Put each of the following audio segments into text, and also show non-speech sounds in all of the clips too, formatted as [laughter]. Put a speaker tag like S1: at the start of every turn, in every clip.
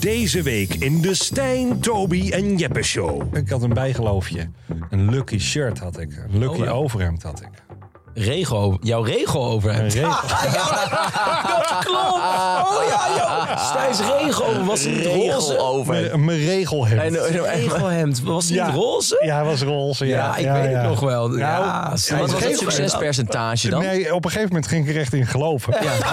S1: Deze week in de Stijn, Toby en Jeppe Show.
S2: Ik had een bijgeloofje. Een lucky shirt had ik. Een lucky
S3: Oh, ja.
S2: overhemd had ik.
S3: Regel, jouw regel over
S2: Een
S3: hem.
S2: regel.
S3: Dat [laughs] klopt! Oh ja, joh! Stijn's regel was niet roze.
S4: over.
S2: Mijn mijn regelhemd.
S4: En, en, en-
S3: Regelhemd, was niet
S2: Ja.
S3: nou, roze?
S2: Ja, hij was roze. Ja,
S3: Ja, ik
S2: Ja,
S3: weet
S2: ja.
S3: het nog wel. Ja,
S2: Nou,
S3: s-
S2: ja,
S4: wat was
S2: geef me.
S4: het succespercentage dan?
S2: Nee, op een gegeven moment ging ik er echt in geloven.
S3: [laughs]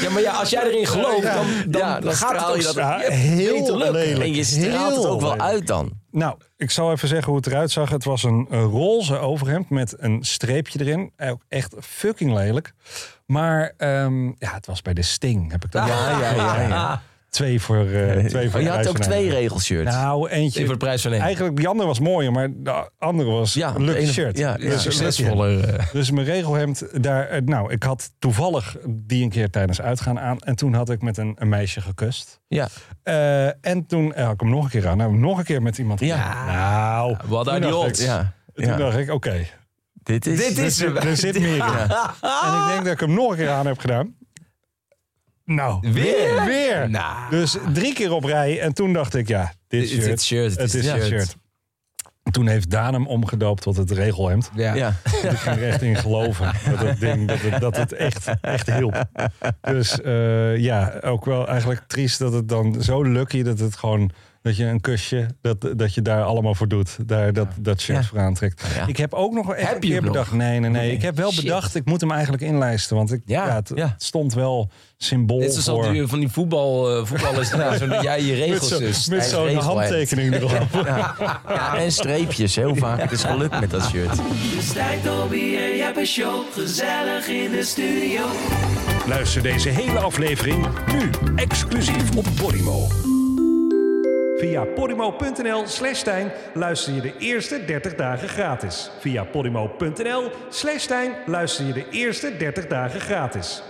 S3: Ja, maar ja, als jij erin gelooft, dan, dan,
S4: Ja, dan
S3: gaat het
S4: straal
S3: ook
S4: je dat-
S2: Ja,
S3: ja,
S2: heel
S3: beter lukken.
S2: lelijk.
S4: En je straalt het
S2: Heel
S4: ook wel
S2: lelijk.
S4: uit dan.
S2: Nou, ik zal even zeggen hoe het eruit zag. Het was een, een roze overhemd met een streepje erin. Eh, Ook echt fucking lelijk. Maar ehm, ja, het was bij de Sting. Heb ik
S3: Ah,
S2: dat ja, ja, ja, ja. Twee voor, eh twee voor
S3: Oh,
S4: Maar Oh, je
S2: de
S4: had ook
S2: eigenaar.
S4: twee regelshirts.
S2: Nou, eentje.
S3: Even voor de prijs van één.
S2: Eigenlijk, die andere was mooier, maar de andere was
S4: Ja,
S2: een
S4: de
S2: luxe
S4: ene-
S2: shirt. Dus
S4: ja, ja.
S2: een luxe
S3: Succesvoller. eh.
S2: shirt. Dus mijn regelhemd, daar, eh, nou, ik had toevallig die een keer tijdens uitgaan aan. En toen had ik met een, een meisje gekust.
S4: Ja.
S2: Eh, en toen eh, had ik hem nog een keer aan. Nou, nog een keer met iemand.
S4: Ja.
S2: gedaan. Nou,
S3: Wat
S2: toen
S3: are the
S2: dacht
S3: odds?
S2: ik-
S4: Ja.
S2: Toen
S4: Ja.
S2: dacht ik, oké,
S4: Dit is...
S3: Dit is hem.
S2: er zit meer in. En ik denk dat ik hem nog een keer aan heb gedaan. Nou,
S3: Weer?
S2: weer.
S3: Nou.
S2: Dus drie keer op rij. En toen dacht ik, ja, dit
S3: Dit- dit
S2: shirt.
S3: shirt,
S2: Het is dit shirt. Toen heeft Daan hem omgedoopt tot het regelhemd.
S3: Ja.
S4: Ja.
S2: Ik ging er echt in geloven. Dat het, ding, dat het, dat het echt, echt hielp. Dus eh, ja, ook wel eigenlijk triest dat het dan zo lucky dat het gewoon... Dat je een kusje, dat, dat je daar allemaal voor doet. Daar dat, dat shirt
S4: Ja.
S2: voor aantrekt.
S4: Ja.
S2: Ik heb ook nog echt
S3: Heb
S2: een
S3: je
S2: keer
S3: hem nog?
S2: bedacht. Nee, nee, nee.
S3: Nee,
S2: Ik heb wel
S3: shit.
S2: bedacht, ik moet hem eigenlijk inlijsten. Want ik, ja,
S4: Ja,
S2: het,
S4: ja.
S2: het stond wel symbool
S3: Dit is
S2: voor...
S3: al die, van die voetbal, eh, voetballers, ja, zo dat jij je
S2: met
S3: regels
S2: zo-
S3: dus.
S2: met
S4: Hij
S2: zo'n
S4: regelt het.
S2: handtekening erop.
S4: Ja, en streepjes. Heel vaak. Het is gelukt met dat shirt.
S5: Stijn, Toby en Jeppe Show, gezellig in de studio.
S1: Luister deze hele aflevering nu exclusief op Podimo. Via podimo.nl slash Stijn luister je de eerste 30 dagen gratis. Via podimo.nl slash Stijn luister je de eerste 30 dagen gratis.